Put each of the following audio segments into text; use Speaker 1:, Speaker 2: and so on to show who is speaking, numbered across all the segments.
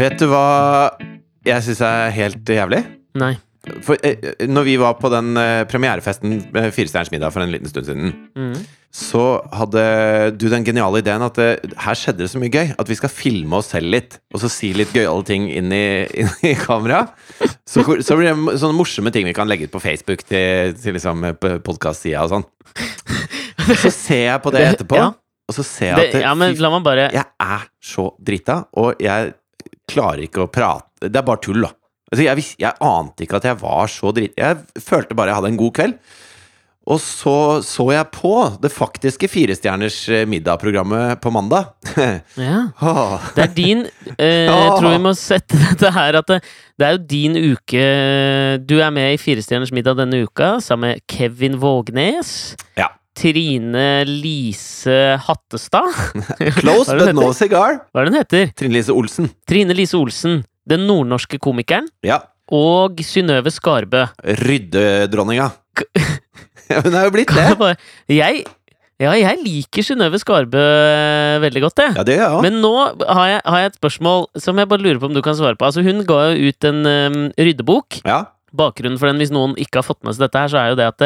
Speaker 1: Vet du hva jeg syns er helt jævlig?
Speaker 2: Nei.
Speaker 1: For eh, når vi var på den eh, premierefesten eh, Firestjerners middag for en liten stund siden, så hadde du den geniale ideen at eh, her skjedde det så mye gøy. At vi skal filme oss selv litt, og så si litt gøyale ting inn i, inn i kamera. Så, hvor- så blir det mo- sånne morsomme ting vi kan legge ut på Facebook til, til liksom podkast-sida og sånn. Så ser jeg på det etterpå,
Speaker 2: Ja.
Speaker 1: og så ser jeg
Speaker 2: Det,
Speaker 1: at det,
Speaker 2: ja, men
Speaker 1: fy
Speaker 2: la meg bare
Speaker 1: jeg er så drita, og jeg klarer ikke å prate. Det er bare tull, da. Altså, jeg, vis- jeg ante ikke at jeg var så drita. Jeg følte bare jeg hadde en god kveld. Og så så jeg på det faktiske Firestjerners eh, middag-programmet på mandag.
Speaker 2: ja.
Speaker 1: Åh.
Speaker 2: Det er din eh, Jeg tror vi må sette dette her at det, det er jo din uke Du er med i Firestjerners middag denne uka sammen med Kevin Vågnes.
Speaker 1: Ja.
Speaker 2: Trine Lise Hattestad.
Speaker 1: Close
Speaker 2: Hva er det
Speaker 1: but no cigar.
Speaker 2: Hva er det hun heter?
Speaker 1: Trine Lise Olsen.
Speaker 2: Trine Lise Olsen. Den nordnorske komikeren.
Speaker 1: Ja.
Speaker 2: Og Synnøve Skarbø.
Speaker 1: Ryddedronninga. Ja, Hun er jo blitt det.
Speaker 2: Jeg bare- Jeg, ja, jeg liker Synnøve Skarbø eh, veldig godt, jeg.
Speaker 1: Ja, det gjør jeg òg.
Speaker 2: Men nå har jeg, har jeg et spørsmål som jeg bare lurer på om du kan svare på. Altså, hun ga jo ut en eh, ryddebok.
Speaker 1: Ja.
Speaker 2: bakgrunnen for den, hvis noen ikke har fått med seg dette her, så er jo det at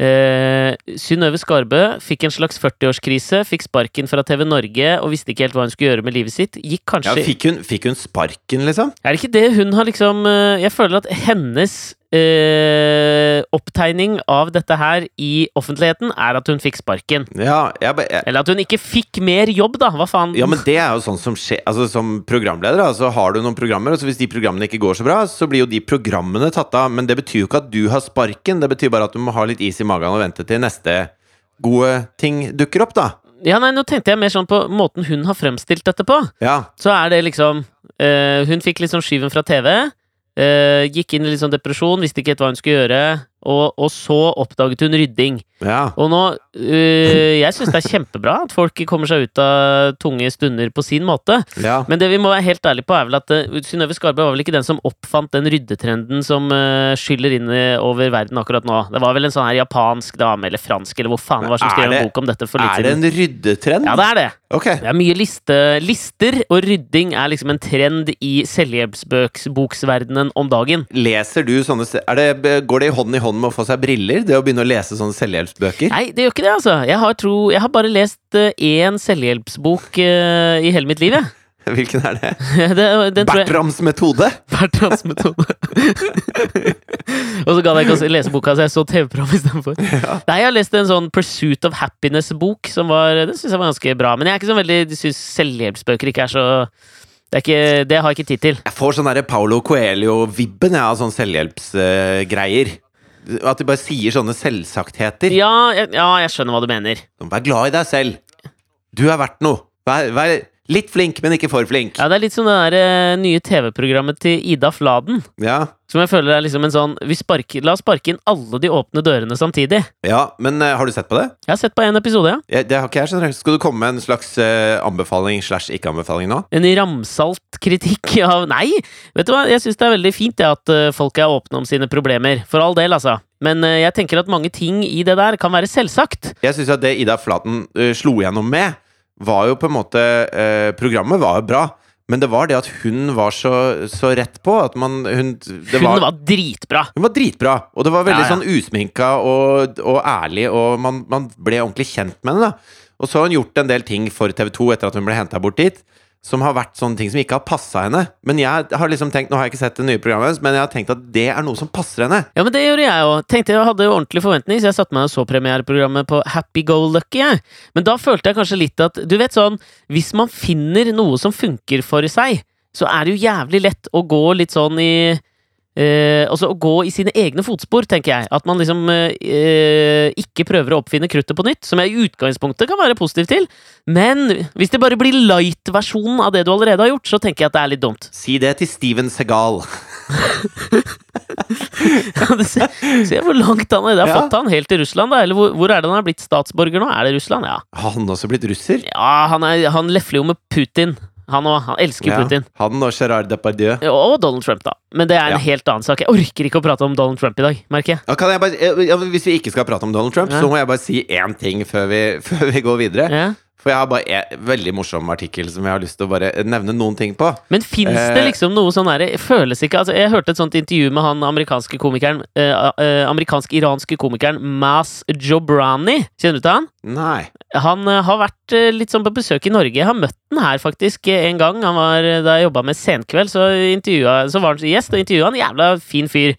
Speaker 2: eh, Synnøve Skarbø fikk en slags 40-årskrise, fikk sparken fra TV Norge og visste ikke helt hva hun skulle gjøre med livet sitt. Gikk
Speaker 1: Ja,
Speaker 2: kanskje
Speaker 1: fikk, hun, fikk hun sparken, liksom?
Speaker 2: Er det ikke det hun har liksom eh, Jeg føler at hennes eh, opptegning av dette her i offentligheten er at hun fikk sparken.
Speaker 1: Ja, jeg, ba- jeg,
Speaker 2: Eller at hun ikke fikk mer jobb, da! Hva faen?
Speaker 1: Ja, men det er jo sånn som skjer Altså Som programleder da, så har du noen programmer, og så hvis de programmene ikke går så bra, så blir jo de programmene tatt av. Men det betyr jo ikke at du har sparken, det betyr bare at du må ha litt is i magen og vente til neste gode ting dukker opp, da.
Speaker 2: ja, nei, nå tenkte jeg mer sånn på måten hun har fremstilt dette på.
Speaker 1: Ja.
Speaker 2: så er det liksom eh, Hun fikk liksom skyven fra TV. eh, gikk inn i litt sånn depresjon, visste ikke helt hva hun skulle gjøre. Og, og så oppdaget hun rydding.
Speaker 1: Ja.
Speaker 2: Og nå eh, Jeg syns det er kjempebra at folk kommer seg ut av tunge stunder på sin måte.
Speaker 1: ja.
Speaker 2: Men det vi må være helt ærlige på, er vel at uh, Synnøve Skarbø var vel ikke den som oppfant den ryddetrenden som eh, skyller inn eh, over verden akkurat nå. Det var vel en sånn her japansk dame, eller fransk, eller hvor faen det var som
Speaker 1: Men er
Speaker 2: skrev en
Speaker 1: det-
Speaker 2: bok om dette for litt
Speaker 1: Er det
Speaker 2: siden.
Speaker 1: en ryddetrend?
Speaker 2: Ja, det er det.
Speaker 1: Ok.
Speaker 2: Det er mye liste, lister, og rydding er liksom en trend i selvhjelpsboksverdenen om dagen.
Speaker 1: Leser du sånne se- er det, Går det hånd i hånd med å få seg briller? Det å begynne å lese sånne selvhjelpsbøker?
Speaker 2: Nei, det gjør ikke det, altså. Jeg har, tro, jeg har bare lest eh, én selvhjelpsbok eh, i hele mitt liv, jeg.
Speaker 1: Hvilken er det?
Speaker 2: det, den tror jeg
Speaker 1: Bertrams metode?
Speaker 2: Bertrams metode. og så gadd jeg ikke å se- lese boka, så jeg så TV-program istedenfor. Nei, jeg har lest en sånn Pursuit of Happiness-bok, som var Den syns jeg var ganske bra. Men jeg er ikke så veldig Syns selvhjelpsbøker ikke er så Det, er ikke, det har jeg ikke tid til.
Speaker 1: Jeg får sånn derre Paulo Coelho-vibben jeg, av sånne selvhjelpsgreier. At de bare sier sånne selvsagtheter. Sånn,
Speaker 2: Ja, jeg, ja, jeg skjønner hva du mener.
Speaker 1: Vær glad i deg selv. Du er verdt noe. Vær, vær litt flink, men ikke for flink.
Speaker 2: Ja, Det er litt som det der, eh, nye TV-programmet til Ida Fladen.
Speaker 1: Ja,
Speaker 2: Som jeg føler er liksom en sånn vi sparker, La oss sparke inn alle de åpne dørene samtidig.
Speaker 1: ja men eh, har du sett på det?
Speaker 2: Jeg har sett på en episode, ja.
Speaker 1: Jeg, det har ikke jeg, skjønner du. Skal du komme med en slags eh, anbefaling slash ikke-anbefaling nå?
Speaker 2: En ramsalt kritikk av Nei! Vet du hva, jeg syns det er veldig fint det at eh, folk er åpne om sine problemer. For all del, altså. Men eh, jeg tenker at mange ting i det der kan være selvsagt.
Speaker 1: Jeg syns at det Ida Flaten eh, slo gjennom med, var jo på en måte eh, Programmet var jo bra. Men det var det at hun var så, så rett på. At man, hun, det
Speaker 2: Hun var dritbra!
Speaker 1: Hun var dritbra, og det var veldig
Speaker 2: Ja, ja.
Speaker 1: sånn usminka og, og ærlig, og man, man ble ordentlig kjent med henne. da. Og så har hun gjort en del ting for TV 2 etter at hun ble henta bort dit, som har vært sånne ting som ikke har passa henne. Men jeg har liksom tenkt, nå har jeg ikke sett det nye programmet hennes, men jeg har tenkt at det er noe som passer henne.
Speaker 2: Ja, men det gjorde jeg òg. Tenkte jeg hadde jo ordentlig forventning, så jeg satte meg og så premiereprogrammet på Happy Go Lucky, jeg. Men da følte jeg kanskje litt at Du vet sånn, hvis man finner noe som funker for seg, så er det jo jævlig lett å gå litt sånn i eh, altså Å gå i sine egne fotspor, tenker jeg. At man liksom eh, eh, ikke prøver å oppfinne kruttet på nytt, som jeg i utgangspunktet kan være positiv til. Men hvis det bare blir light-versjonen av det du allerede har gjort, så tenker jeg at det er litt dumt.
Speaker 1: Si det til Steven Segal.
Speaker 2: Ja, det ser- Se hvor langt han er. Det har
Speaker 1: Ja.
Speaker 2: fått han helt til Russland, da. Eller hvor, hvor er det han har blitt statsborger nå? Er det Russland? Ja.
Speaker 1: Har han også blitt russer?
Speaker 2: Ja, han, er, han lefler jo med Putin. Han òg. Han elsker
Speaker 1: Ja,
Speaker 2: Putin.
Speaker 1: Han og Gerard Depardieu.
Speaker 2: Og Donald Trump, da. Men det er en
Speaker 1: Ja.
Speaker 2: helt annen sak. Jeg orker ikke å prate om Donald Trump i dag, merker jeg.
Speaker 1: Ja, Kan jeg bare, ja, hvis vi ikke skal prate om Donald Trump,
Speaker 2: Ja.
Speaker 1: så må jeg bare si én ting før vi, før vi går videre.
Speaker 2: Ja.
Speaker 1: For jeg har bare en veldig morsom artikkel som jeg har lyst til å bare nevne noen ting på.
Speaker 2: Men fins det
Speaker 1: Eh.
Speaker 2: liksom noe sånn her Føles ikke altså, Jeg hørte et sånt intervju med han amerikanske komikeren eh, eh, Amerikansk-iranske komikeren Mas Jobrani. Kjenner du til han?
Speaker 1: Nei.
Speaker 2: Han eh, har vært eh, litt sånn på besøk i Norge. Jeg har møtt den her faktisk eh, en gang. Han var, eh, da jeg jobba med Senkveld, så, intervjua- så var han gjest og intervjua han. Jævla fin fyr.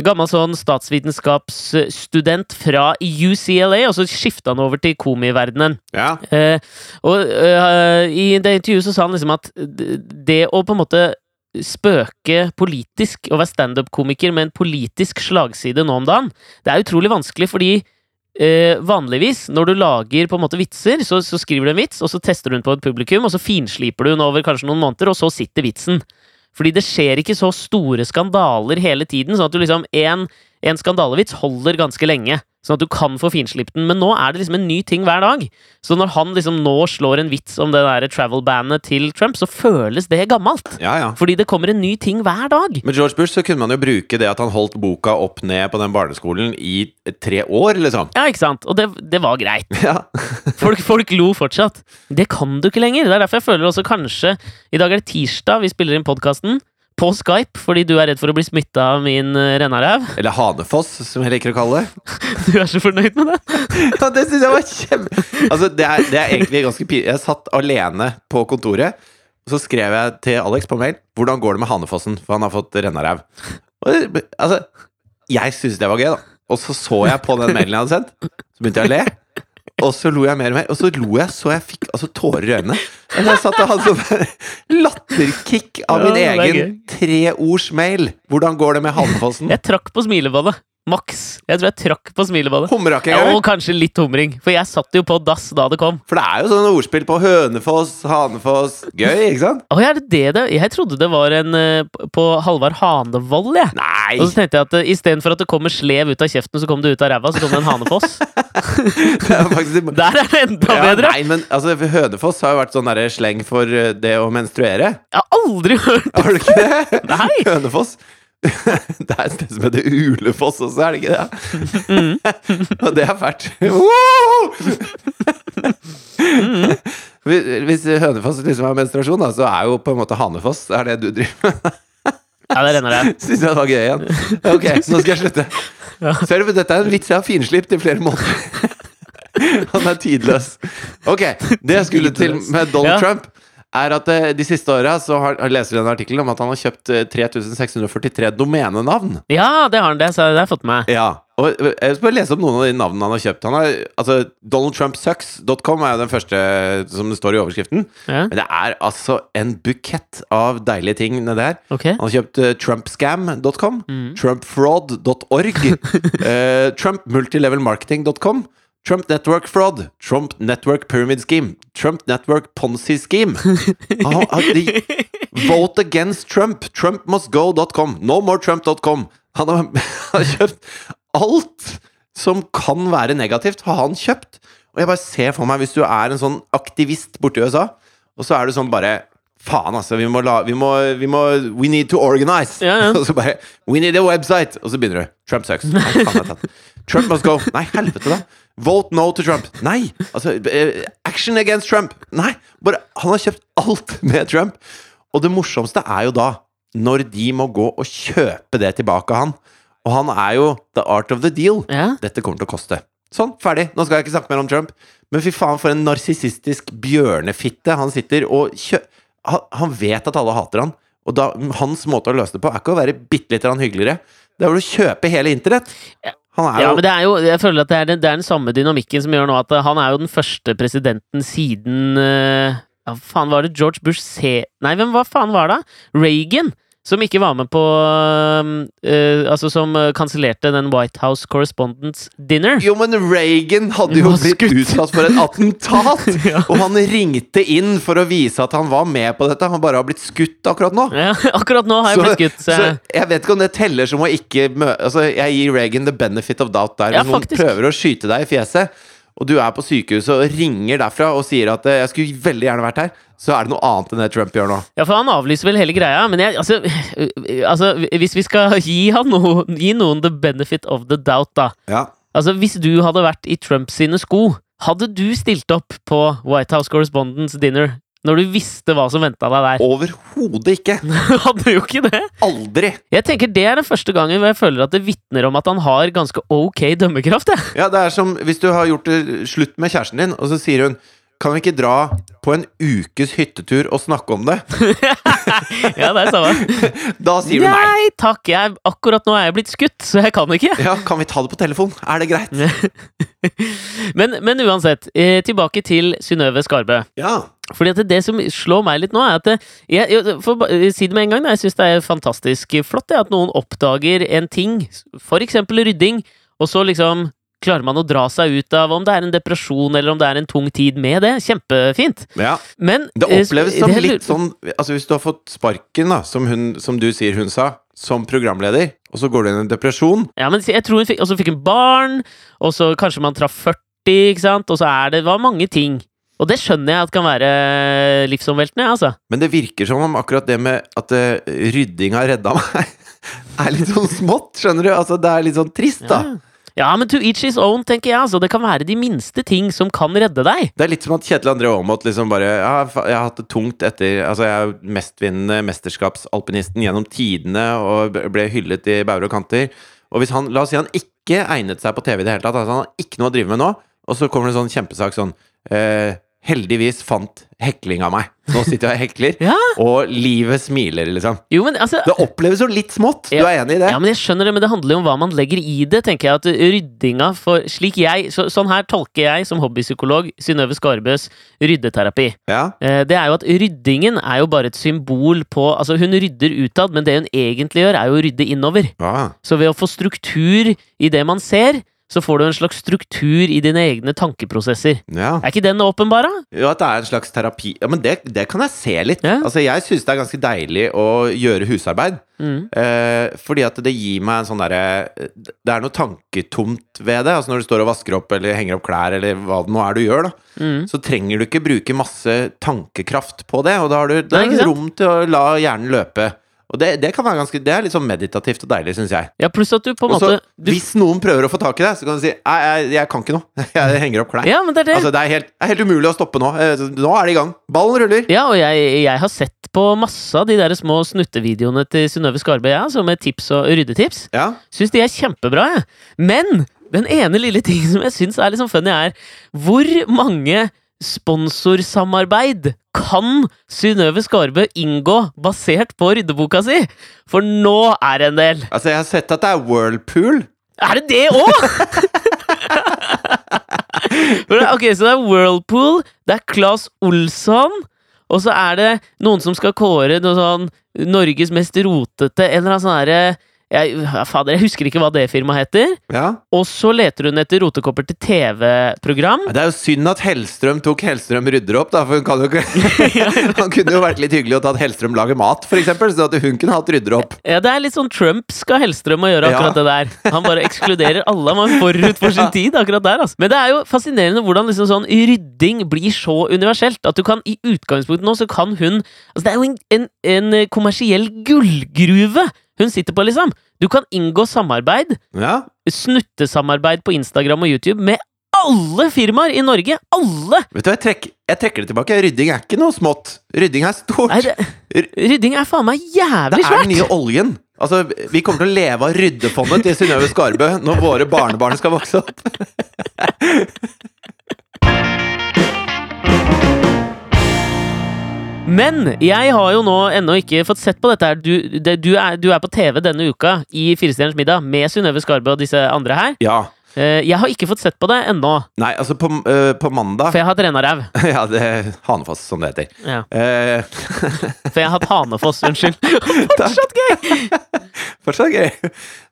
Speaker 2: Gammel sånn statsvitenskapsstudent fra UCLA, og så skifta han over til komiverdenen.
Speaker 1: Ja.
Speaker 2: Eh, og eh, i det intervjuet så sa han liksom at d- det å på en måte spøke politisk og være standup-komiker med en politisk slagside nå om dagen, det er utrolig vanskelig fordi eh, vanligvis når du lager på en måte vitser, så, så skriver du en vits, og så tester du den på et publikum, og så finsliper du den over kanskje noen måneder, og så sitter vitsen. Fordi det skjer ikke så store skandaler hele tiden, sånn at du liksom en, en skandalevits holder ganske lenge. Sånn at du kan få finslipt den, men nå er det liksom en ny ting hver dag. Så når han liksom nå slår en vits om det der travel-bandet til Trump, så føles det gammelt.
Speaker 1: ja, ja.
Speaker 2: Fordi det kommer en ny ting hver dag.
Speaker 1: Med George Bush så kunne man jo bruke det at han holdt boka opp ned på den barneskolen i tre år, liksom.
Speaker 2: Ja, ikke sant? Og det, det var greit.
Speaker 1: Ja.
Speaker 2: Folk, folk lo fortsatt. Det kan du ikke lenger. Det er derfor jeg føler også kanskje I dag er det tirsdag, vi spiller inn podkasten. På Skype, fordi du er redd for å bli smitta av min eh, rennaræv.
Speaker 1: Eller Hanefoss, som jeg liker å kalle det.
Speaker 2: Du er så fornøyd med det?
Speaker 1: Ja, det synes jeg var kjempe... Altså, det er, det er egentlig ganske pinlig. Jeg satt alene på kontoret, og så skrev jeg til Alex på mail 'Hvordan går det med Hanefossen?' For han har fått rennaræv. Og det- Altså, jeg syntes det var gøy, da. Og så så jeg på den mailen jeg hadde sendt, så begynte jeg å le. Og så lo jeg mer og mer, og så lo jeg så jeg fikk altså, tårer i øynene. Og jeg satt og hadde sånn latterkick av min
Speaker 2: Ja, det er
Speaker 1: egen treordsmail. 'Hvordan går det med Hanefossen?'
Speaker 2: Jeg trakk på smilebåndet. Maks. Jeg tror jeg trakk på smilebåndet.
Speaker 1: Humra ikke
Speaker 2: Ja,
Speaker 1: engang.
Speaker 2: og kanskje litt humring, for jeg satt jo på dass da det kom.
Speaker 1: For det er jo sånne ordspill på Hønefoss, Hanefoss Gøy, ikke sant?
Speaker 2: Å, er det det det Jeg trodde det var en eh, p- på Halvard Hanevold, jeg.
Speaker 1: Nei!
Speaker 2: Og så tenkte jeg at eh, istedenfor at det kommer slev ut av kjeften, så kom det ut av ræva, så kom det en hanefoss.
Speaker 1: Det er faktisk
Speaker 2: Der er det enda bedre!
Speaker 1: nei, men altså, Hønefoss har jo vært sånn derre sleng for eh, det å menstruere.
Speaker 2: Jeg har aldri hørt
Speaker 1: Har du ikke det?
Speaker 2: Nei!
Speaker 1: Hønefoss. Det er et sted som heter Ulefoss også, er det ikke det? Og det er fælt. Wow! Hvis hvis Hønefoss liksom har menstruasjon, da, så er jo på en måte Hanefoss det er det du driver med.
Speaker 2: Ja, det renner det.
Speaker 1: Syns jeg det var gøy igjen. Ok, nå skal jeg slutte.
Speaker 2: Ja.
Speaker 1: Ser du, dette er en vits jeg har finslipt i flere måneder. Han er tidløs. Ok, det jeg skulle til med Donald
Speaker 2: Ja.
Speaker 1: Trump, er at eh, de siste åra så har, har- leser du en artikkel om at han har kjøpt eh, 3643 domenenavn.
Speaker 2: Ja, det har han. Det, så det har jeg fått med meg.
Speaker 1: Ja. Og eh, jeg skal bare lese opp noen av de navnene han har kjøpt. Han har, altså, DonaldTrumpSucks.com er jo den første eh, som det står i overskriften.
Speaker 2: Ja,
Speaker 1: Men det er altså en bukett av deilige ting nedi her.
Speaker 2: ok. Mm.
Speaker 1: Han har kjøpt eh, trumpscam.com, trumpfraud.org, eh, trumpmultilevelmarketing.com, Trump Network Fraud, Trump Network Pyramid Scheme, Trump Network Ponzi Scheme. Ah, ah, de, vote against Trump, trumpmustgo.com, nomortrump.com. Han har, han har kjøpt alt som kan være negativt, har han kjøpt. Og jeg bare ser for meg, hvis du er en sånn aktivist borti USA, og så er du sånn bare Faen, altså. Vi må la Vi må, vi må We need to organize.
Speaker 2: Ja, ja.
Speaker 1: Og så bare We need a website. Og så begynner du. Trump sucks. Nei, faen, jeg har tatt. den. Trump must go. Nei, helvete, da. Vote no to Trump. Nei. Altså, eh, action against Trump. Nei. Bare Han har kjøpt alt med Trump. Og det morsomste er jo da når de må gå og kjøpe det tilbake av han. Og han er jo the art of the deal.
Speaker 2: Ja.
Speaker 1: Dette kommer til å koste. Sånn, ferdig. Nå skal jeg ikke snakke mer om Trump. Men fy faen, for en narsissistisk bjørnefitte han sitter og kjø... Han, han vet at alle hater han. Og da, hans måte å løse det på er ikke å være bitte litt hyggeligere. Det er vel å kjøpe hele internett. Han er jo
Speaker 2: Ja, men det er jo, jeg føler at det er, den, det er den samme dynamikken som gjør nå at eh, han er jo den første presidenten siden eh, Ja, faen var det George Bush C... Nei, hvem hva faen var det? Reagan, som ikke var med på eh, eh, Altså som eh, kansellerte den White House Correspondents Dinner.
Speaker 1: Jo, men Reagan hadde jo
Speaker 2: Var
Speaker 1: blitt
Speaker 2: skutt.
Speaker 1: utsatt for et attentat!
Speaker 2: Ja.
Speaker 1: Og han ringte inn for å vise at han var med på dette. Han bare har blitt skutt akkurat nå.
Speaker 2: Ja, akkurat nå har jeg blitt skutt. Så,
Speaker 1: så jeg vet ikke om det teller som å ikke møte Altså, jeg gir Reagan the benefit of doubt der.
Speaker 2: Ja,
Speaker 1: Hvis noen
Speaker 2: faktisk.
Speaker 1: prøver å skyte deg i fjeset, og du er på sykehuset og ringer derfra og sier at eh, 'jeg skulle veldig gjerne vært her', så er det noe annet enn det Trump gjør nå.
Speaker 2: ja, for han avlyser vel hele greia, men jeg, altså, altså Hvis vi skal gi, han noe, gi noen the benefit of the doubt, da.
Speaker 1: Ja.
Speaker 2: Altså, hvis du hadde vært i Trump sine sko Hadde du stilt opp på White House Correspondence Dinner når du visste hva som venta deg der?
Speaker 1: Overhodet ikke!
Speaker 2: Hadde du jo ikke det!
Speaker 1: Aldri!
Speaker 2: Jeg tenker Det er den første gangen hvor jeg føler at det vitner om at han har ganske ok dømmekraft. Jeg.
Speaker 1: Ja, det er som hvis du har gjort det slutt med kjæresten din, og så sier hun Kan vi ikke dra på en ukes hyttetur og snakke om det?
Speaker 2: Ja, det er samme.
Speaker 1: Da sier du nei.
Speaker 2: Nei takk, jeg, akkurat nå er jeg blitt skutt, så jeg kan ikke.
Speaker 1: Ja, kan vi ta det på telefon? Er det greit?
Speaker 2: Men, men uansett, eh, tilbake til Synnøve Skarbø.
Speaker 1: Ja.
Speaker 2: Fordi at det som slår meg litt nå, er at det, jeg, jeg, for, ba- Si det med en gang, da, jeg syns det er fantastisk flott det, at noen oppdager en ting, f.eks. rydding, og så liksom klarer man å dra seg ut av om det er en depresjon eller om det er en tung tid med det. Kjempefint.
Speaker 1: ja.
Speaker 2: Men
Speaker 1: Det
Speaker 2: eh,
Speaker 1: oppleves som
Speaker 2: det jeg lurer-
Speaker 1: litt sånn Altså Hvis du har fått sparken, da som, hun, som du sier hun sa, som programleder, og så går du inn i en depresjon
Speaker 2: Ja, men jeg tror hun fikk, Og så fikk hun barn, og så kanskje man traff 40, ikke sant? Og så er det var mange ting. Og det skjønner jeg at kan være livsomveltende, altså.
Speaker 1: Men det virker som om akkurat det med at eh, rydding har redda meg, er litt sånn smått, skjønner du? Altså Det er litt sånn trist, da.
Speaker 2: Ja. ja, men to each his own, tenker jeg. altså. Det kan være de minste ting som kan redde deg.
Speaker 1: Det er litt som at Kjetil André Aamodt liksom bare ja, fa- Jeg har hatt det tungt etter Altså, jeg er mestvinnende mesterskapsalpinisten gjennom tidene og b- ble hyllet i bauger og kanter. Og hvis han, la oss si han ikke egnet seg på TV i det hele tatt, altså han har ikke noe å drive med nå, og så kommer det en sånn kjempesak sånn eh, Heldigvis fant hekling av meg. Nå sitter jeg og hekler,
Speaker 2: Ja.
Speaker 1: og livet smiler, liksom.
Speaker 2: Jo, men altså...
Speaker 1: Det oppleves jo litt smått. Du er enig i det?
Speaker 2: Ja, men jeg skjønner det, men det handler jo om hva man legger i det, tenker jeg. At ryddinga for slik jeg, så, Sånn her tolker jeg som hobbypsykolog Synnøve Skarbøs ryddeterapi.
Speaker 1: Ja.
Speaker 2: Eh, Det er jo at ryddingen er jo bare et symbol på Altså, hun rydder utad, men det hun egentlig gjør, er jo å rydde innover.
Speaker 1: Ah.
Speaker 2: Så ved å få struktur i det man ser, så får du en slags struktur i dine egne tankeprosesser.
Speaker 1: Ja.
Speaker 2: Er ikke den åpenbar, da?
Speaker 1: Jo, at det er en slags terapi. Ja, men det, det kan jeg se litt.
Speaker 2: Ja.
Speaker 1: Altså, jeg syns det er ganske deilig å gjøre husarbeid.
Speaker 2: Mm.
Speaker 1: Eh, fordi at det gir meg en sånn derre Det er noe tanketomt ved det. Altså når du står og vasker opp eller henger opp klær eller hva det nå er du gjør, da.
Speaker 2: Mm.
Speaker 1: Så trenger du ikke bruke masse tankekraft på det, og da har du da
Speaker 2: Nei,
Speaker 1: er
Speaker 2: ikke
Speaker 1: det
Speaker 2: sant?
Speaker 1: rom til å la hjernen løpe. Og det, det kan være ganske Det er litt sånn meditativt og deilig, syns jeg.
Speaker 2: Ja, pluss at du på en
Speaker 1: Og så,
Speaker 2: måte du,
Speaker 1: hvis noen prøver å få tak i deg, så kan du si Nei, jeg, jeg kan ikke noe. Jeg henger opp klær.
Speaker 2: Ja, men det er det.
Speaker 1: Altså, det er helt, det er helt umulig å stoppe nå. Eh, Nå er det i gang. Ballen ruller.
Speaker 2: Ja, og jeg, jeg har sett på masse av de der små snuttevideoene til Synnøve Skarbø, jeg, altså, med tips og ryddetips.
Speaker 1: Ja.
Speaker 2: Syns de er kjempebra, jeg. Men den ene lille tingen som jeg syns er litt sånn funny, er hvor mange sponsorsamarbeid kan Synnøve Skarbø inngå basert på ryddeboka si? For nå er det en del!
Speaker 1: Altså, jeg har sett at det er whirlpool.
Speaker 2: Er det det òg?! ok, så det er Whirlpool, det er Claes Olsson, og så er det noen som skal kåre noe sånn Norges mest rotete En eller annen sånn herre jeg, ja, Fader, jeg husker ikke hva det firmaet heter.
Speaker 1: Ja.
Speaker 2: Og så leter hun etter rotekopper til TV-program.
Speaker 1: Det er jo synd at Hellstrøm tok Hellstrøm rydder opp, da, for hun kan jo ikke Han kunne jo vært litt hyggelig og tatt Hellstrøm lager mat, for eksempel, så at hun kunne hatt rydder opp.
Speaker 2: Ja, Det er litt sånn Trump skal Hellstrøm å gjøre akkurat
Speaker 1: Ja.
Speaker 2: det der. Han bare ekskluderer alle. Han var forut for sin tid akkurat der. Altså. Men det er jo fascinerende hvordan liksom sånn rydding blir så universelt. At du kan i utgangspunktet nå, så kan hun Altså Det er jo en, en, en kommersiell gullgruve hun sitter på, liksom. Du kan inngå samarbeid,
Speaker 1: Ja.
Speaker 2: snuttesamarbeid på Instagram og YouTube med alle firmaer i Norge! Alle!
Speaker 1: Vet du, hva, jeg, trekk, jeg trekker det tilbake. Rydding er ikke noe smått. Rydding er stort.
Speaker 2: Nei, det, rydding er faen meg
Speaker 1: det er
Speaker 2: jævlig svært!
Speaker 1: den nye oljen. Altså, Vi kommer til å leve av ryddefondet til Synnøve Skarbø når våre barnebarn skal vokse opp.
Speaker 2: Men jeg har jo nå ennå ikke fått sett på dette her. Du, det, du, er, du er på TV denne uka i Firestjerners middag med Synnøve Skarbø og disse andre her.
Speaker 1: Ja.
Speaker 2: Eh, Jeg har ikke fått sett på det ennå,
Speaker 1: Nei, altså, på, eh, på mandag
Speaker 2: for jeg har hatt Renaræv.
Speaker 1: Ja, det Hanefoss, som det heter.
Speaker 2: Ja,
Speaker 1: Eh,
Speaker 2: for jeg har hatt Hanefoss, unnskyld.
Speaker 1: Fortsatt gøy! Fortsatt gøy.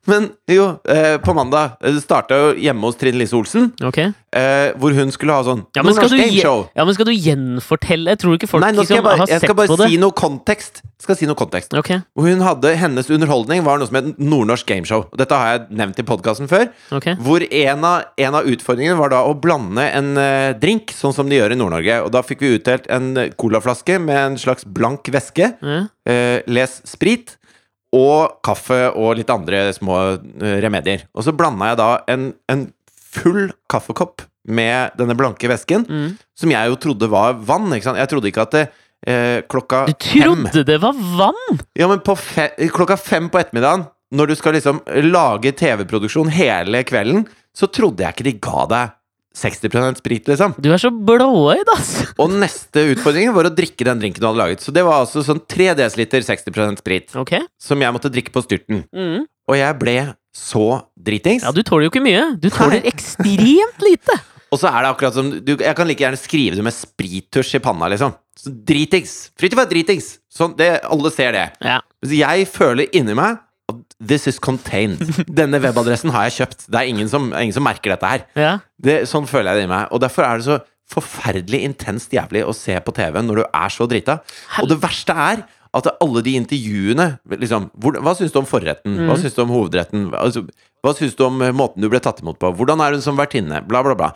Speaker 1: Men jo, eh, på mandag eh, Det starta jo hjemme hos Trine Lise Olsen,
Speaker 2: Ok
Speaker 1: eh, hvor hun skulle ha sånn
Speaker 2: ja, men skal
Speaker 1: Nordnorsk
Speaker 2: du,
Speaker 1: Game
Speaker 2: gje-
Speaker 1: Show.
Speaker 2: ja, men skal du gjenfortelle? Jeg tror ikke folk
Speaker 1: Nei, nå skal
Speaker 2: liksom
Speaker 1: jeg bare,
Speaker 2: har
Speaker 1: jeg
Speaker 2: sett
Speaker 1: skal bare
Speaker 2: på det.
Speaker 1: si noe kontekst. Skal si noe kontekst.
Speaker 2: Ok,
Speaker 1: Og Hun hadde, hennes underholdning var noe som het Nordnorsk gameshow. Dette har jeg nevnt i podkasten før.
Speaker 2: ok
Speaker 1: Hvor en av, en av utfordringene var da å blande en eh, drink, sånn som de gjør i Nord-Norge. Og da fikk vi utdelt en eh, colaflaske med en slags blank væske.
Speaker 2: Ja.
Speaker 1: Eh, les sprit og kaffe og litt andre små eh, remedier. Og så blanda jeg da en, en full kaffekopp med denne blanke vesken,
Speaker 2: Mm.
Speaker 1: som jeg jo trodde var vann. Ikke sant? Jeg trodde ikke at det, eh, klokka
Speaker 2: Du
Speaker 1: fem
Speaker 2: trodde det var vann!
Speaker 1: Ja, men på fe klokka fem på ettermiddagen, når du skal liksom lage TV-produksjon hele kvelden, så trodde jeg ikke de ga deg 60 sprit, liksom.
Speaker 2: Du er så blåøyd, ass!
Speaker 1: Og neste utfordring var å drikke den drinken du hadde laget. Så det var altså sånn 3 dl 60 sprit
Speaker 2: Ok.
Speaker 1: som jeg måtte drikke på styrten.
Speaker 2: Mm.
Speaker 1: Og jeg ble så dritings.
Speaker 2: Ja, du tåler jo ikke mye. Du tåler ekstremt lite!
Speaker 1: Og så er det akkurat som du, Jeg kan like gjerne skrive det med sprittusj i panna, liksom. Så dritings. Fritjof er dritings. Sånn, det, alle ser det.
Speaker 2: Ja.
Speaker 1: Så jeg føler inni meg at This is contained. Denne webadressen har jeg kjøpt. Det er ingen som, ingen som merker dette her.
Speaker 2: ja.
Speaker 1: Det, sånn føler jeg det i meg. Og derfor er det så forferdelig intenst jævlig å se på TV når du er så drita. Og det verste er at alle de intervjuene liksom, hvor, Hva syns du om forretten? Hva syns du om hovedretten? Hva- Altså, hva syns du om eh, måten du ble tatt imot på? Hvordan er hun som vertinne? Bla, bla, bla.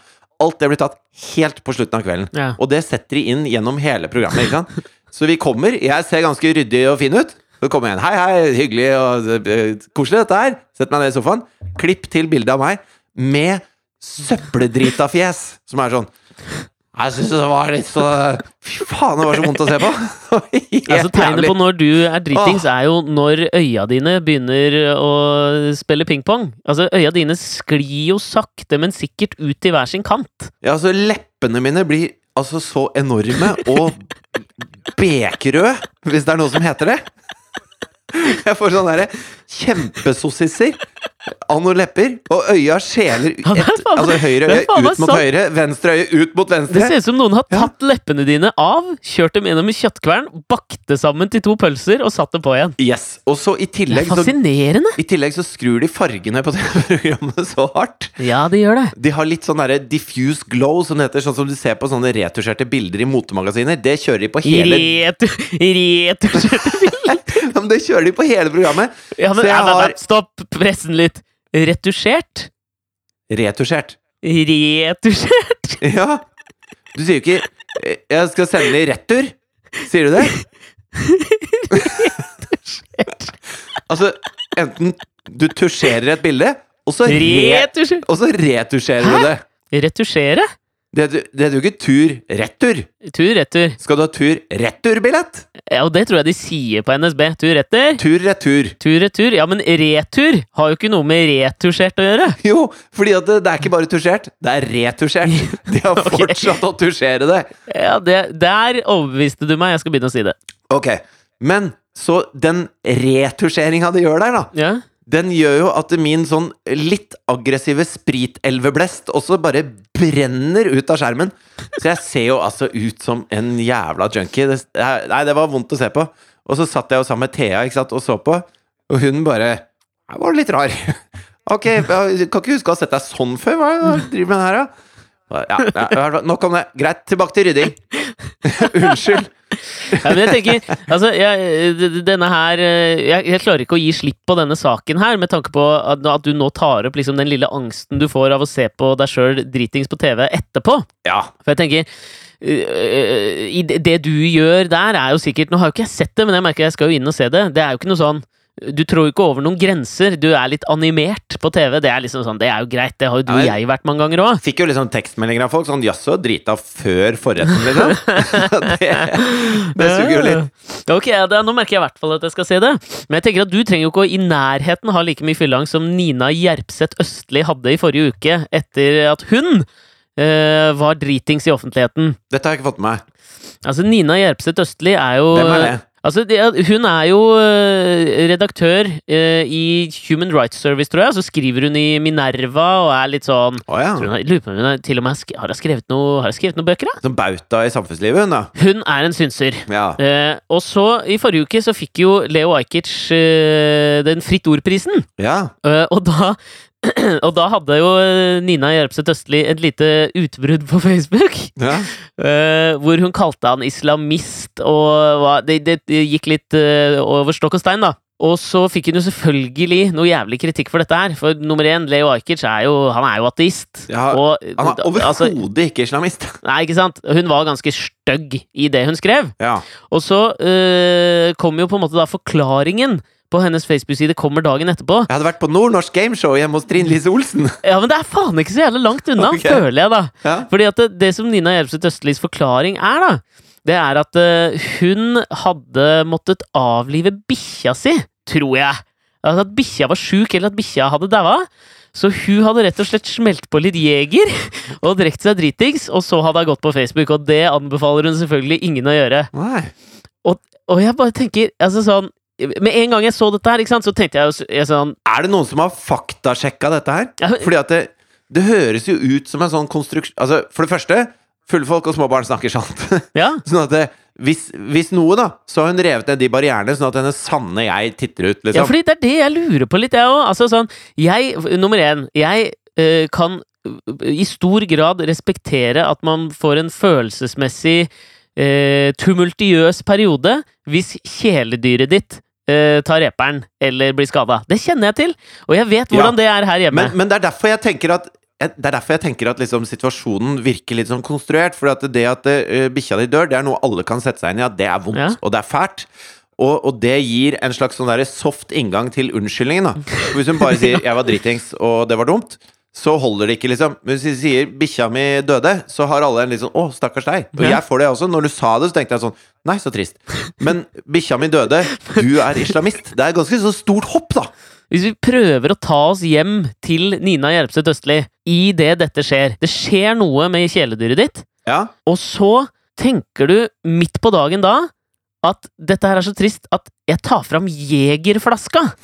Speaker 1: Alt det blir tatt helt på slutten av kvelden.
Speaker 2: Ja.
Speaker 1: Og det setter de inn gjennom hele programmet. Ikke sant? Så vi kommer. Jeg ser ganske ryddig og fin ut. Så kommer jeg inn. Hei, hei, hyggelig og eh, koselig dette her. Setter meg ned i sofaen. Klipp til bildet av meg med søppeldrita fjes, som er sånn Jeg syns det var litt så Fy faen, det var så vondt å se på! Helt
Speaker 2: Altså Tegnet
Speaker 1: jævlig.
Speaker 2: på når du er dritings, er jo når øya dine begynner å spille pingpong. Altså, øya dine sklir jo sakte, men sikkert ut til hver sin kant.
Speaker 1: Ja, altså, leppene mine blir altså så enorme og bekrød, hvis det er noe som heter det. Jeg får sånne derre kjempesossiser av noen lepper, og øya skjeler ut
Speaker 2: Ja, det er faen-
Speaker 1: Altså høyre øye
Speaker 2: det er faen meg
Speaker 1: ut mot
Speaker 2: sant.
Speaker 1: høyre, venstre øye ut mot
Speaker 2: Det
Speaker 1: venstre.
Speaker 2: ser ut som noen har
Speaker 1: Ja.
Speaker 2: tatt leppene dine av, kjørt dem gjennom en kjøttkvern, bakte sammen til to pølser og satt dem på igjen.
Speaker 1: Yes. Og så i
Speaker 2: Det er
Speaker 1: tillegg så,
Speaker 2: fascinerende!
Speaker 1: i tillegg så skrur de fargene på det programmet så hardt.
Speaker 2: Ja, det gjør det.
Speaker 1: De har litt sånn derre diffuse glow, som det heter. Sånn som du ser på sånne retusjerte bilder i motemagasiner. Det kjører de på hele
Speaker 2: Retur... Retur...
Speaker 1: Ja, men Det kjører de på hele programmet.
Speaker 2: Ja, men,
Speaker 1: Så jeg
Speaker 2: nei, nei, nei,
Speaker 1: har-
Speaker 2: Stopp pressen litt. Retusjert?
Speaker 1: Retusjert.
Speaker 2: Retusjert?
Speaker 1: Ja. Du sier jo ikke eh, 'jeg skal sende den i retur'. Sier du det? altså, enten du tusjerer et bilde, og så, re
Speaker 2: Retusjert?
Speaker 1: og så retusjerer du det.
Speaker 2: Retusjere?
Speaker 1: Det heter- det heter jo ikke tur retur.
Speaker 2: Tur-retur.
Speaker 1: Skal du ha tur retur-billett?
Speaker 2: Ja, og det tror jeg de sier på NSB. Tur-retur.
Speaker 1: Tur retur.
Speaker 2: Tur-retur. Ja, men retur har jo ikke noe med retusjert å gjøre.
Speaker 1: Jo, fordi at det, det er ikke bare tusjert, det er retusjert. De har
Speaker 2: Ok.
Speaker 1: fortsatt å tusjere det.
Speaker 2: Ja, det, Der overbeviste du meg. Jeg skal begynne å si det.
Speaker 1: Ok, men så den retusjeringa de gjør der, da,
Speaker 2: Ja,
Speaker 1: den gjør jo at min sånn litt aggressive spritelveblest også bare brenner ut av skjermen. Så jeg ser jo altså ut som en jævla junkie. Det, nei, det var vondt å se på. Og så satt jeg jo sammen med Thea ikke sant, og så på, og hun bare Her var du litt rar. Ok, jeg kan ikke huske å ha sett deg sånn før. Hva er det du driver med her, da? Ja, ja, i hvert fall, nok om det. Greit, tilbake til rydding. Unnskyld.
Speaker 2: ja men jeg tenker, altså, jeg, d- d- denne her eh, jeg, jeg klarer ikke å gi slipp på denne saken her, med tanke på at, at du nå tar opp liksom, den lille angsten du får av å se på deg sjøl dritings på TV etterpå.
Speaker 1: Ja.
Speaker 2: For jeg tenker øh, i det det du gjør der, er jo sikkert Nå har jo ikke jeg sett det, men jeg merker jeg skal jo inn og se det. Det er jo ikke noe sånn Du trår jo ikke over noen grenser. Du er litt animert på TV. Det er liksom sånn, det er jo greit. Det har jo du og
Speaker 1: Ja,
Speaker 2: jeg vært mange ganger òg.
Speaker 1: Fikk jo liksom tekstmeldinger av folk sånn 'jaså, drita før forretten', liksom. det, det suger jo litt.
Speaker 2: Ok, ja, da, Nå merker jeg i hvert fall at jeg skal se det. Men jeg tenker at du trenger jo ikke å i nærheten ha like mye fylleangst som Nina Gjerpseth Østli hadde i forrige uke, etter at hun øh, var dritings i offentligheten.
Speaker 1: Dette har jeg ikke fått med meg.
Speaker 2: Altså, Nina Gjerpseth Østli er jo
Speaker 1: Hvem er det?
Speaker 2: Altså, det er- hun er jo øh, redaktør øh, i Human Rights Service, tror jeg. Så skriver hun i Minerva og er litt sånn
Speaker 1: Å ja.
Speaker 2: tror hun, har- Lurer på om hun har, til og med har sk- har hun skrevet noe, har hun skrevet noen bøker, da?
Speaker 1: Som Sånn bauta i samfunnslivet, hun, da.
Speaker 2: Hun er en synser.
Speaker 1: Ja.
Speaker 2: Eh, og så, i forrige uke, så fikk jo Leo Ajkic eh, den Fritt Ord-prisen.
Speaker 1: ja.
Speaker 2: Eh, og da Og da hadde jo eh, Nina Gjerpseth Østli et lite utbrudd på Facebook.
Speaker 1: ja.
Speaker 2: Eh, hvor hun kalte han islamist, og hva- det, det, det gikk litt eh, over stokk og stein, da. Og så fikk hun jo selvfølgelig noe jævlig kritikk for dette her. For nummer én, Leo Ajkic er jo Han er jo ateist.
Speaker 1: Ja,
Speaker 2: og,
Speaker 1: Han er
Speaker 2: altså,
Speaker 1: overhodet ikke islamist.
Speaker 2: Nei, ikke sant? Hun var ganske stygg i det hun skrev.
Speaker 1: Ja.
Speaker 2: Og så eh, kom jo på en måte da forklaringen på hennes Facebook-side kommer dagen etterpå.
Speaker 1: Jeg hadde vært på Nordnorsk Gameshow hjemme hos Trine Lise Olsen!
Speaker 2: Ja, men det er faen ikke så jævlig langt unna,
Speaker 1: Ok.
Speaker 2: føler jeg, da.
Speaker 1: Ja.
Speaker 2: Fordi at det, det som Nina Hjelmseth Østlis forklaring er, da, det er at eh, hun hadde måttet avlive bikkja si, tror jeg. Altså At bikkja var sjuk, eller at bikkja hadde daua. Så hun hadde rett og slett smelt på litt Jeger og drekt seg dritings, og så hadde hun gått på Facebook, og det anbefaler hun selvfølgelig ingen å gjøre.
Speaker 1: Nei.
Speaker 2: Og jeg bare tenker, altså sånn Med en gang jeg så dette her, ikke sant, så tenkte jeg, jo s- jeg sånn
Speaker 1: Er det noen som har faktasjekka dette her?
Speaker 2: ja, men-
Speaker 1: Fordi at det, det høres jo ut som en sånn konstruksjon Altså, for det første, fulle folk og små barn snakker sant.
Speaker 2: Ja,
Speaker 1: Sånn at det, hvis, hvis noe, da, så har hun revet ned de barrierene, sånn at hennes sanne jeg titter ut,
Speaker 2: Ja,
Speaker 1: liksom.
Speaker 2: fordi det er det jeg lurer på litt, jeg òg. Altså, sånn, jeg, nummer én, jeg eh, kan eh, i stor grad respektere at man får en følelsesmessig eh, tumultiøs periode hvis kjæledyret ditt eh, tar reperen eller blir skada. Det kjenner jeg til, og jeg
Speaker 1: Ja,
Speaker 2: vet hvordan det er her hjemme.
Speaker 1: men, men det er derfor jeg tenker at jeg- det er derfor jeg tenker at liksom, situasjonen virker litt sånn konstruert. For at det at eh, bikkja di dør, det er noe alle kan sette seg inn i. At det er vondt,
Speaker 2: Ja.
Speaker 1: og det er fælt. Og, og det gir en slags sånn derre soft inngang til unnskyldningen. Da. For Hvis hun bare sier 'jeg var dritings, og det var dumt', så holder det ikke, liksom. Men hvis de sier 'bikkja mi døde', så har alle en litt sånn 'å, stakkars deg'. Og
Speaker 2: Ja.
Speaker 1: jeg får det også. Når du sa det, så tenkte jeg sånn 'nei, så trist'. Men 'bikkja mi døde', du er islamist. Det er et ganske så stort hopp, da.
Speaker 2: Hvis vi prøver å ta oss hjem til Nina Hjelpseth Østli idet dette skjer Det skjer noe med kjæledyret ditt.
Speaker 1: Ja.
Speaker 2: Og så tenker du midt på dagen da at dette her er så trist at jeg tar fram Jegerflaska.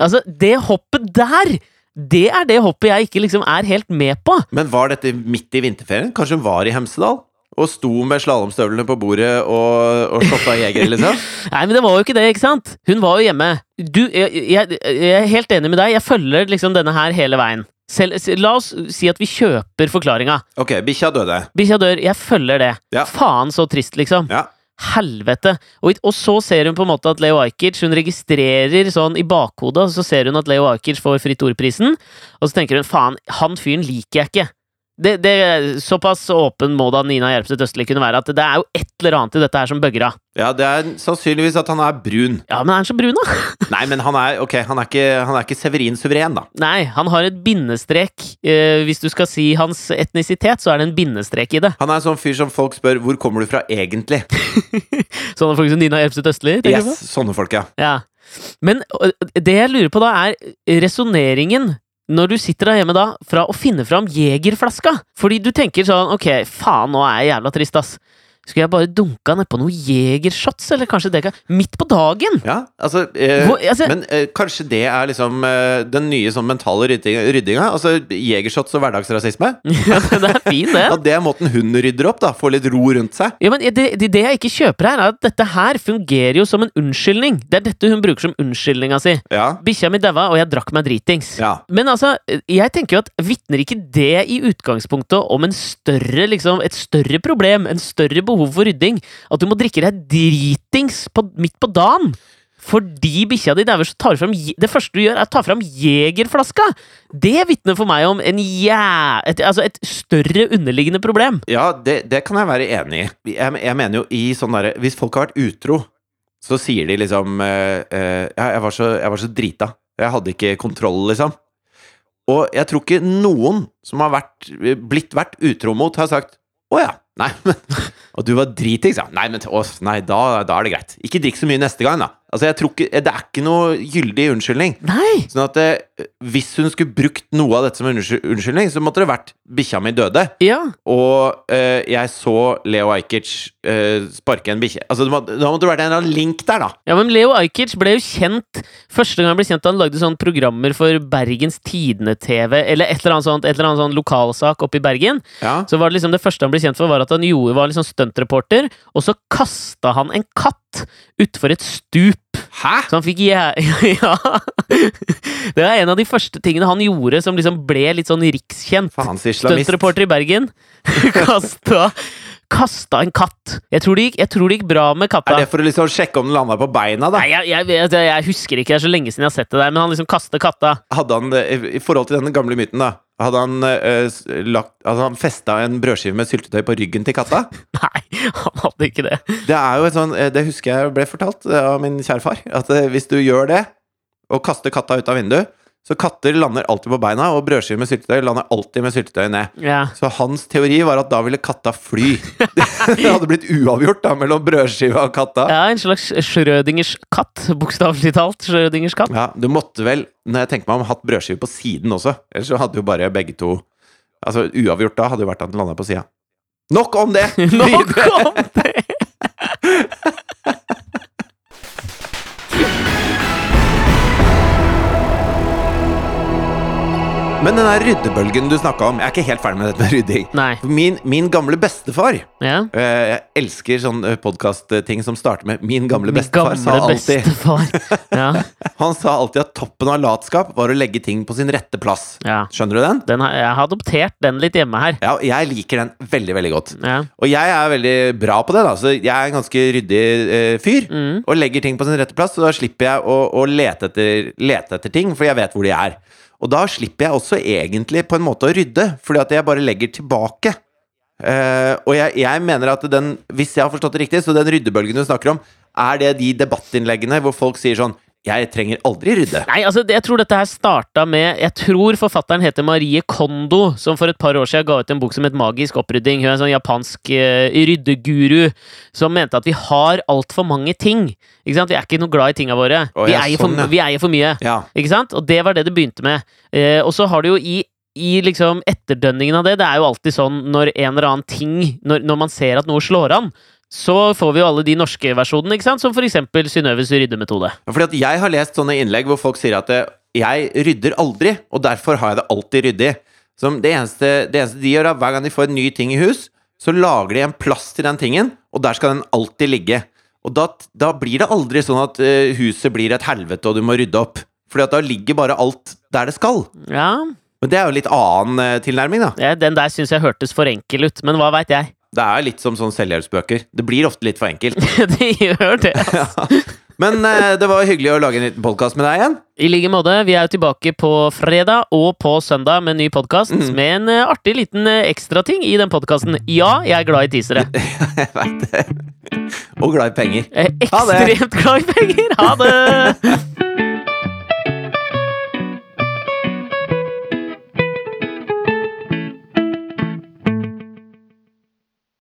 Speaker 2: Altså, det hoppet der, det er det hoppet jeg ikke liksom er helt med på.
Speaker 1: Men var dette midt i vinterferien? Kanskje hun var i Hemsedal? Og sto med slalåmstøvlene på bordet og, og shotta jeger, liksom?
Speaker 2: Nei, men det var jo ikke det, ikke sant? Hun var jo hjemme. Du, jeg, jeg, jeg er helt enig med deg, jeg følger liksom denne her hele veien. Selv, s- la oss si at vi kjøper forklaringa.
Speaker 1: Ok, bikkja døde.
Speaker 2: Bikkja dør, jeg følger det.
Speaker 1: Ja.
Speaker 2: Faen så trist, liksom.
Speaker 1: Ja.
Speaker 2: Helvete! Og, og så ser hun på en måte at Leo Ajkic Hun registrerer sånn i bakhodet, og så ser hun at Leo Ajkic får Fritt Ord-prisen, og så tenker hun faen, han fyren liker jeg ikke. Det, det, såpass åpen må da Nina Hjelpseth Østli kunne være, at det er jo et eller annet i dette her som bøgger av.
Speaker 1: ja, det er sannsynligvis at han er brun.
Speaker 2: Ja, men er han så brun, da?
Speaker 1: Nei, men han er, ok, han er, ikke, han er ikke Severin suveren, da.
Speaker 2: Nei, han har et bindestrek. Eh, hvis du skal si hans etnisitet, så er det en bindestrek i det.
Speaker 1: Han er en sånn fyr som folk spør 'hvor kommer du fra egentlig?'
Speaker 2: Sånne Sånn folk som Nina Hjelpseth Østli, tenker du på?
Speaker 1: Yes, sånne folk, ja.
Speaker 2: Ja. Men ø, det jeg lurer på da, er resonneringen når du sitter der hjemme da, fra å finne fram Jegerflaska. Fordi du tenker sånn Ok, faen, nå er jeg jævla trist, ass. Skulle jeg bare dunka nedpå noen Jegershots, eller kanskje det kan Midt på dagen!
Speaker 1: ja altså, eh,
Speaker 2: Hvor, altså,
Speaker 1: Men eh, kanskje det er liksom eh, den nye sånn mentale ryddinga? ryddinga? Altså jegershots og hverdagsrasisme?
Speaker 2: ja, det er fin, det.
Speaker 1: At det er måten hun rydder opp, da. Får litt ro rundt seg.
Speaker 2: Ja, men det, det det jeg ikke kjøper her, er at dette her fungerer jo som en unnskyldning. Det er dette hun bruker som unnskyldninga si.
Speaker 1: Ja.
Speaker 2: Bikkja mi daua, og jeg drakk meg dritings.
Speaker 1: ja.
Speaker 2: Men altså, jeg tenker jo at vitner ikke det i utgangspunktet om en større, liksom, et større problem, en større behov for rydding? At du må drikke deg dritings på, midt på dagen? Fordi bikkja di dauer, så tar du fram je- Det første du gjør, er å ta fram Jegerflaska! Det vitner for meg om en jæ... Et, altså et større underliggende problem.
Speaker 1: Ja, det, det kan jeg være enig i. Jeg, jeg mener jo i sånn derre Hvis folk har vært utro, så sier de liksom eh, eh, Ja, jeg var, så, jeg var så drita. Jeg hadde ikke kontroll, liksom. Og jeg tror ikke noen som har vært, blitt vært utro mot, har sagt å ja. Nei, men Og du var dritings, ja. Nei, men å, nei, da, da er det greit. Ikke drikk så mye neste gang, da. Altså, jeg tror ikke Det er ikke noe gyldig unnskyldning.
Speaker 2: Nei!
Speaker 1: Sånn at eh, hvis hun skulle brukt noe av dette som unnskyld- unnskyldning, så måtte det vært 'bikkja mi døde'.
Speaker 2: Ja.
Speaker 1: Og eh, jeg så Leo Ajkic eh, sparke en bikkje. Altså, det må, da måtte det vært en eller annen link der, da.
Speaker 2: Ja, men Leo Ajkic ble jo kjent Første gang han ble kjent da han lagde sånne programmer for Bergens Tidende-TV, eller et eller annet sånt, et eller annet sånn lokalsak oppe i Bergen.
Speaker 1: Ja.
Speaker 2: Så var det liksom det første han ble kjent for, var at han gjorde, var liksom stuntreporter, og så kasta han en katt utfor et stup.
Speaker 1: Hæ?!
Speaker 2: Så han fikk jæ... Ja! Det er en av de første tingene han gjorde som liksom ble litt sånn rikskjent.
Speaker 1: Faens islamist.
Speaker 2: Stuntreporter i Bergen kasta, kasta en katt. Jeg tror, det gikk, jeg tror det gikk bra med katta.
Speaker 1: Er det for å liksom sjekke om den landa på beina, da?
Speaker 2: Nei, jeg, jeg, vet- jeg, jeg husker ikke, det er så lenge siden jeg har sett det der, men han liksom kaster katta.
Speaker 1: Hadde han, eh, I forhold til den gamle myten, da. Hadde han, eh, s- lagt, hadde han festa en brødskive med syltetøy på ryggen til katta?
Speaker 2: Nei, han hadde ikke det.
Speaker 1: Det er jo et sånn, eh, det husker jeg ble fortalt eh, av min kjære far. At eh, hvis du gjør det, og kaster katta ut av vinduet. Så katter lander alltid på beina, og brødskiver med syltetøy lander alltid med syltetøy ned.
Speaker 2: Ja.
Speaker 1: Så hans teori var at da ville katta fly. Det hadde blitt uavgjort da mellom brødskiva og katta.
Speaker 2: ja, en slags Schrødingers katt, bokstavelig talt. Schrødingers katt.
Speaker 1: Ja, Du måtte vel, når jeg tenker meg om, hatt brødskive på siden også. Ellers så hadde jo bare begge to Altså uavgjort da hadde jo vært at den landa på sida. Nok om det!
Speaker 2: Nå kom det!
Speaker 1: Men den der ryddebølgen du snakka om, jeg er ikke helt ferdig med dette med rydding.
Speaker 2: Nei.
Speaker 1: For Min, min gamle bestefar
Speaker 2: Ja.
Speaker 1: eh, Jeg elsker sånne podkastting som starter med 'min gamle bestefar',
Speaker 2: Gamle
Speaker 1: sa alltid.
Speaker 2: bestefar. Ja.
Speaker 1: Han sa alltid at toppen av latskap var å legge ting på sin rette plass.
Speaker 2: ja.
Speaker 1: Skjønner du den?
Speaker 2: Den har, jeg har adoptert den litt hjemme her.
Speaker 1: Ja, og jeg liker den veldig, veldig godt.
Speaker 2: Ja.
Speaker 1: Og jeg er veldig bra på det, da. Så jeg er en ganske ryddig eh, fyr.
Speaker 2: Mm.
Speaker 1: Og legger ting på sin rette plass, så da slipper jeg å, å lete, etter, lete etter ting, for jeg vet hvor de er. Og da slipper jeg også egentlig på en måte å rydde, fordi at jeg bare legger tilbake. Eh, og jeg, jeg mener at den, hvis jeg har forstått det riktig, så den ryddebølgen du snakker om, er det de debattinnleggene hvor folk sier sånn Jeg trenger aldri rydde.
Speaker 2: Nei, altså, det- jeg tror dette her starta med Jeg tror forfatteren heter Marie Kondo, som for et par år siden ga ut en bok som het Magisk opprydding. Hun er en sånn japansk eh, ryddeguru som mente at vi har altfor mange ting. Ikke sant? Vi er ikke noe glad i tinga våre.
Speaker 1: Å,
Speaker 2: vi,
Speaker 1: ja,
Speaker 2: eier for,
Speaker 1: sånn, ja.
Speaker 2: vi eier for mye.
Speaker 1: Ja.
Speaker 2: Ikke sant? Og det var det det begynte med. Eh, og så har du jo i i liksom etterdønningen av det, det er jo alltid sånn når en eller annen ting Når, når man ser at noe slår an, så får vi jo alle de norske versjonene, ikke sant? Som for eksempel Synnøves ryddemetode.
Speaker 1: Ja, Fordi at jeg har lest sånne innlegg hvor folk sier at eh, jeg rydder aldri, og derfor har jeg det alltid ryddig. Som det, eneste, det eneste de gjør, er hver gang de får en ny ting i hus, så lager de en plass til den tingen, og der skal den alltid ligge. Og da, da blir det aldri sånn at eh, huset blir et helvete, og du må rydde opp. Fordi at da ligger bare alt der det skal.
Speaker 2: Ja,
Speaker 1: Men det er jo litt annen eh, tilnærming, da.
Speaker 2: Ja, Den der syns jeg hørtes for enkel ut, men hva veit jeg?
Speaker 1: Det er litt som sånn selvhjelpsbøker. Det blir ofte litt for enkelt.
Speaker 2: det gjør det.
Speaker 1: Men eh, det var hyggelig å lage en liten podkast med deg igjen.
Speaker 2: I like måte, vi er jo tilbake på fredag og på søndag med en ny podkast
Speaker 1: Mm.
Speaker 2: med en eh, artig liten eh, ekstrating i den podkasten. Ja, jeg er glad i teasere.
Speaker 1: Jeg vet det. Og glad i penger.
Speaker 2: Jeg er
Speaker 1: Ha det.
Speaker 2: ekstremt glad i penger! Ha det!